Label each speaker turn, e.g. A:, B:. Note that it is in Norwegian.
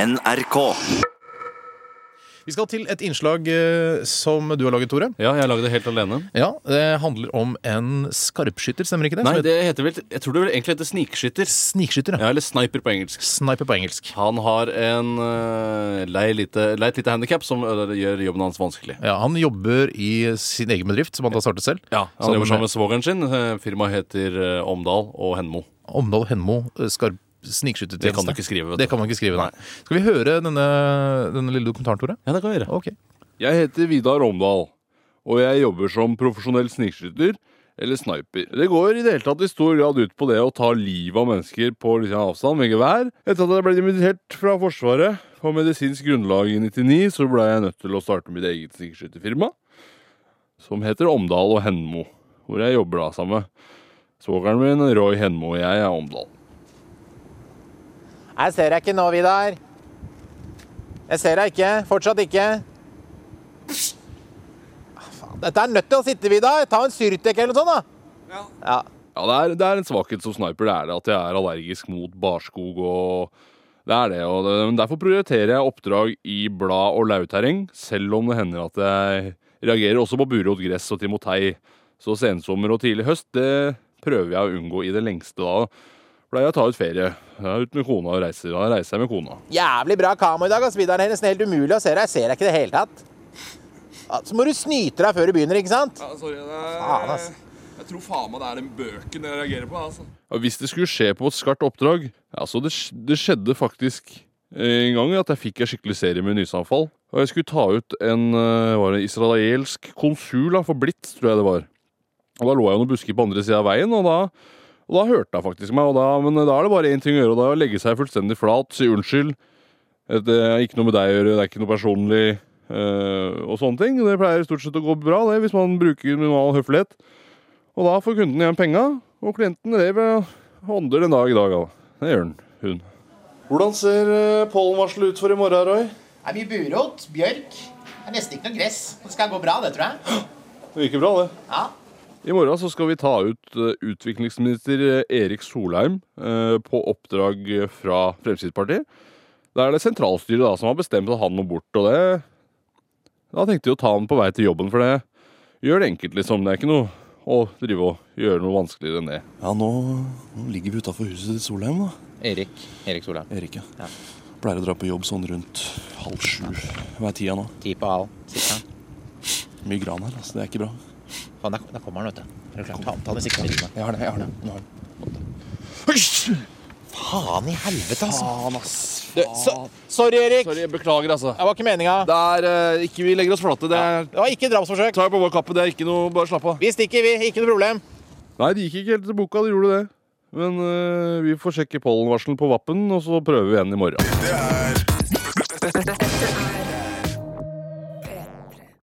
A: NRK.
B: Vi skal til et innslag eh, som du har laget, Tore.
C: Ja, jeg lagde det helt alene.
B: Ja, Det handler om en skarpskytter, stemmer ikke det?
C: Nei,
B: Som
C: det heter vel Jeg tror det vel egentlig heter snikskytter.
B: heter Snikskytter, ja.
C: Ja, eller sniper på engelsk.
B: Sniper på engelsk.
C: Han har en uh, lei lite, leit lite handikap som øh, gjør jobben hans vanskelig.
B: Ja, Han jobber i sin egen bedrift, som han har startet selv.
C: Ja, Han jobber sammen med svogeren sin. Eh, Firmaet heter eh, Omdal og Henmo.
B: Omdal Henmo eh, skarp
C: Det kan
B: snikskyttertjeneste.
C: du ikke skrive. vet du.
B: Det kan man ikke skrive, nei. Skal vi høre denne, denne lille dokumentaren, Tore?
C: Ja, det kan vi gjøre.
B: Ok.
D: Jeg heter Vidar Omdal, og jeg jobber som profesjonell snikskytter, eller sniper. Det går i det hele tatt i stor grad ut på det å ta livet av mennesker på liksom avstand med gevær. Etter at jeg ble dimittert fra Forsvaret på medisinsk grunnlag i 99, så ble jeg nødt til å starte mitt eget snikskytterfirma, som heter Omdal og Henmo, hvor jeg jobber da sammen med svogeren min, Roy Henmo, og jeg er Omdal.
E: Jeg ser deg ikke nå, Vidar. Jeg ser deg ikke. Fortsatt ikke. Ah, Faen, dette er nødt til å sitte, Vidar. Ta en Syrtec eller noe sånt, da. Ja.
D: Ja, det er, det er en svakhet som sniper, det er det at jeg er allergisk mot barskog og Det er det, og det, men derfor prioriterer jeg oppdrag i blad- og lauterreng, selv om det hender at jeg reagerer også på burot gress og timotei. Så sensommer og tidlig høst, det prøver jeg å unngå i det lengste da. Pleier jeg å ta ut ferie. Jeg er ute med kona og reiser. Da reiser jeg med kona.
E: Jævlig bra kamo i dag, ass, Vidar. Det er nesten helt umulig å se deg. Jeg ser deg ikke i det hele tatt. Ja, Så må du snyte deg før du begynner, ikke sant?
D: sorry,
E: Faen, ass.
D: Jeg tror faen meg det er den bøken jeg reagerer på. altså. Ja, hvis det skulle skje på et skarpt oppdrag altså det, sk- det skjedde faktisk eh, en gang at jeg fikk en skikkelig serie med nysanfall. Og jeg skulle ta ut en eh, var det israelsk konsul da, for Blitz, tror jeg det var. Og Da lå jeg i noen busker på andre sida av veien, og da, og da hørte jeg faktisk meg. Og da, men da er det bare én ting å gjøre, og det er å legge seg fullstendig flat, si unnskyld. Eh, Det er ikke noe med deg å gjøre, det er ikke noe personlig eh, og sånne ting. Det pleier stort sett å gå bra, det, hvis man bruker normal høflighet. Og da får kunden igjen penga, og klienten lever og ånder den dag i dag. Da. Det gjør den. Hun. Hvordan ser pollenvarselet ut for i morgen, Roy?
E: Det er mye burot, bjørk. Det er nesten ikke noe gress. Det skal gå bra, det, tror jeg.
D: Det virker bra, det.
E: Ja.
D: I morgen så skal vi ta ut eh, utviklingsminister eh, Erik Solheim eh, på oppdrag eh, fra Fremskrittspartiet. Da er det sentralstyret da som har bestemt at han må bort, og det Da tenkte jeg å ta han på vei til jobben, for det gjør det enkelt, liksom. Det er ikke noe å drive og gjøre noe vanskeligere enn det.
F: Ja, nå, nå ligger vi utafor huset til Solheim, da.
E: Erik. Erik Solheim.
F: Erik, ja. Pleier å dra på jobb sånn rundt halv sju. Hva er tida nå?
E: Ti på halv. Sikkert.
F: Mye gran her, altså. Det er ikke bra.
E: Faen, der, der kommer han, vet du. Er du klar? Ta, ta den sikkerheten.
F: Jeg har det, jeg har det. Nå har jeg det.
E: Faen i helvete, altså.
F: Faen, ass.
E: Du, så, sorry, Erik.
D: Sorry, beklager, altså.
E: Det var ikke meninga.
D: Det er eh, ikke Vi legger oss flate. Det er
E: Det var ikke drapsforsøk.
D: Tar jeg på vår kappe, det er ikke noe Bare slapp av.
E: Vi stikker, vi. Ikke noe problem.
D: Nei, det gikk ikke helt til boka, det gjorde det. Men eh, vi får sjekke pollenvarselen på Vappen, og så prøver vi igjen i morgen.
G: Dette er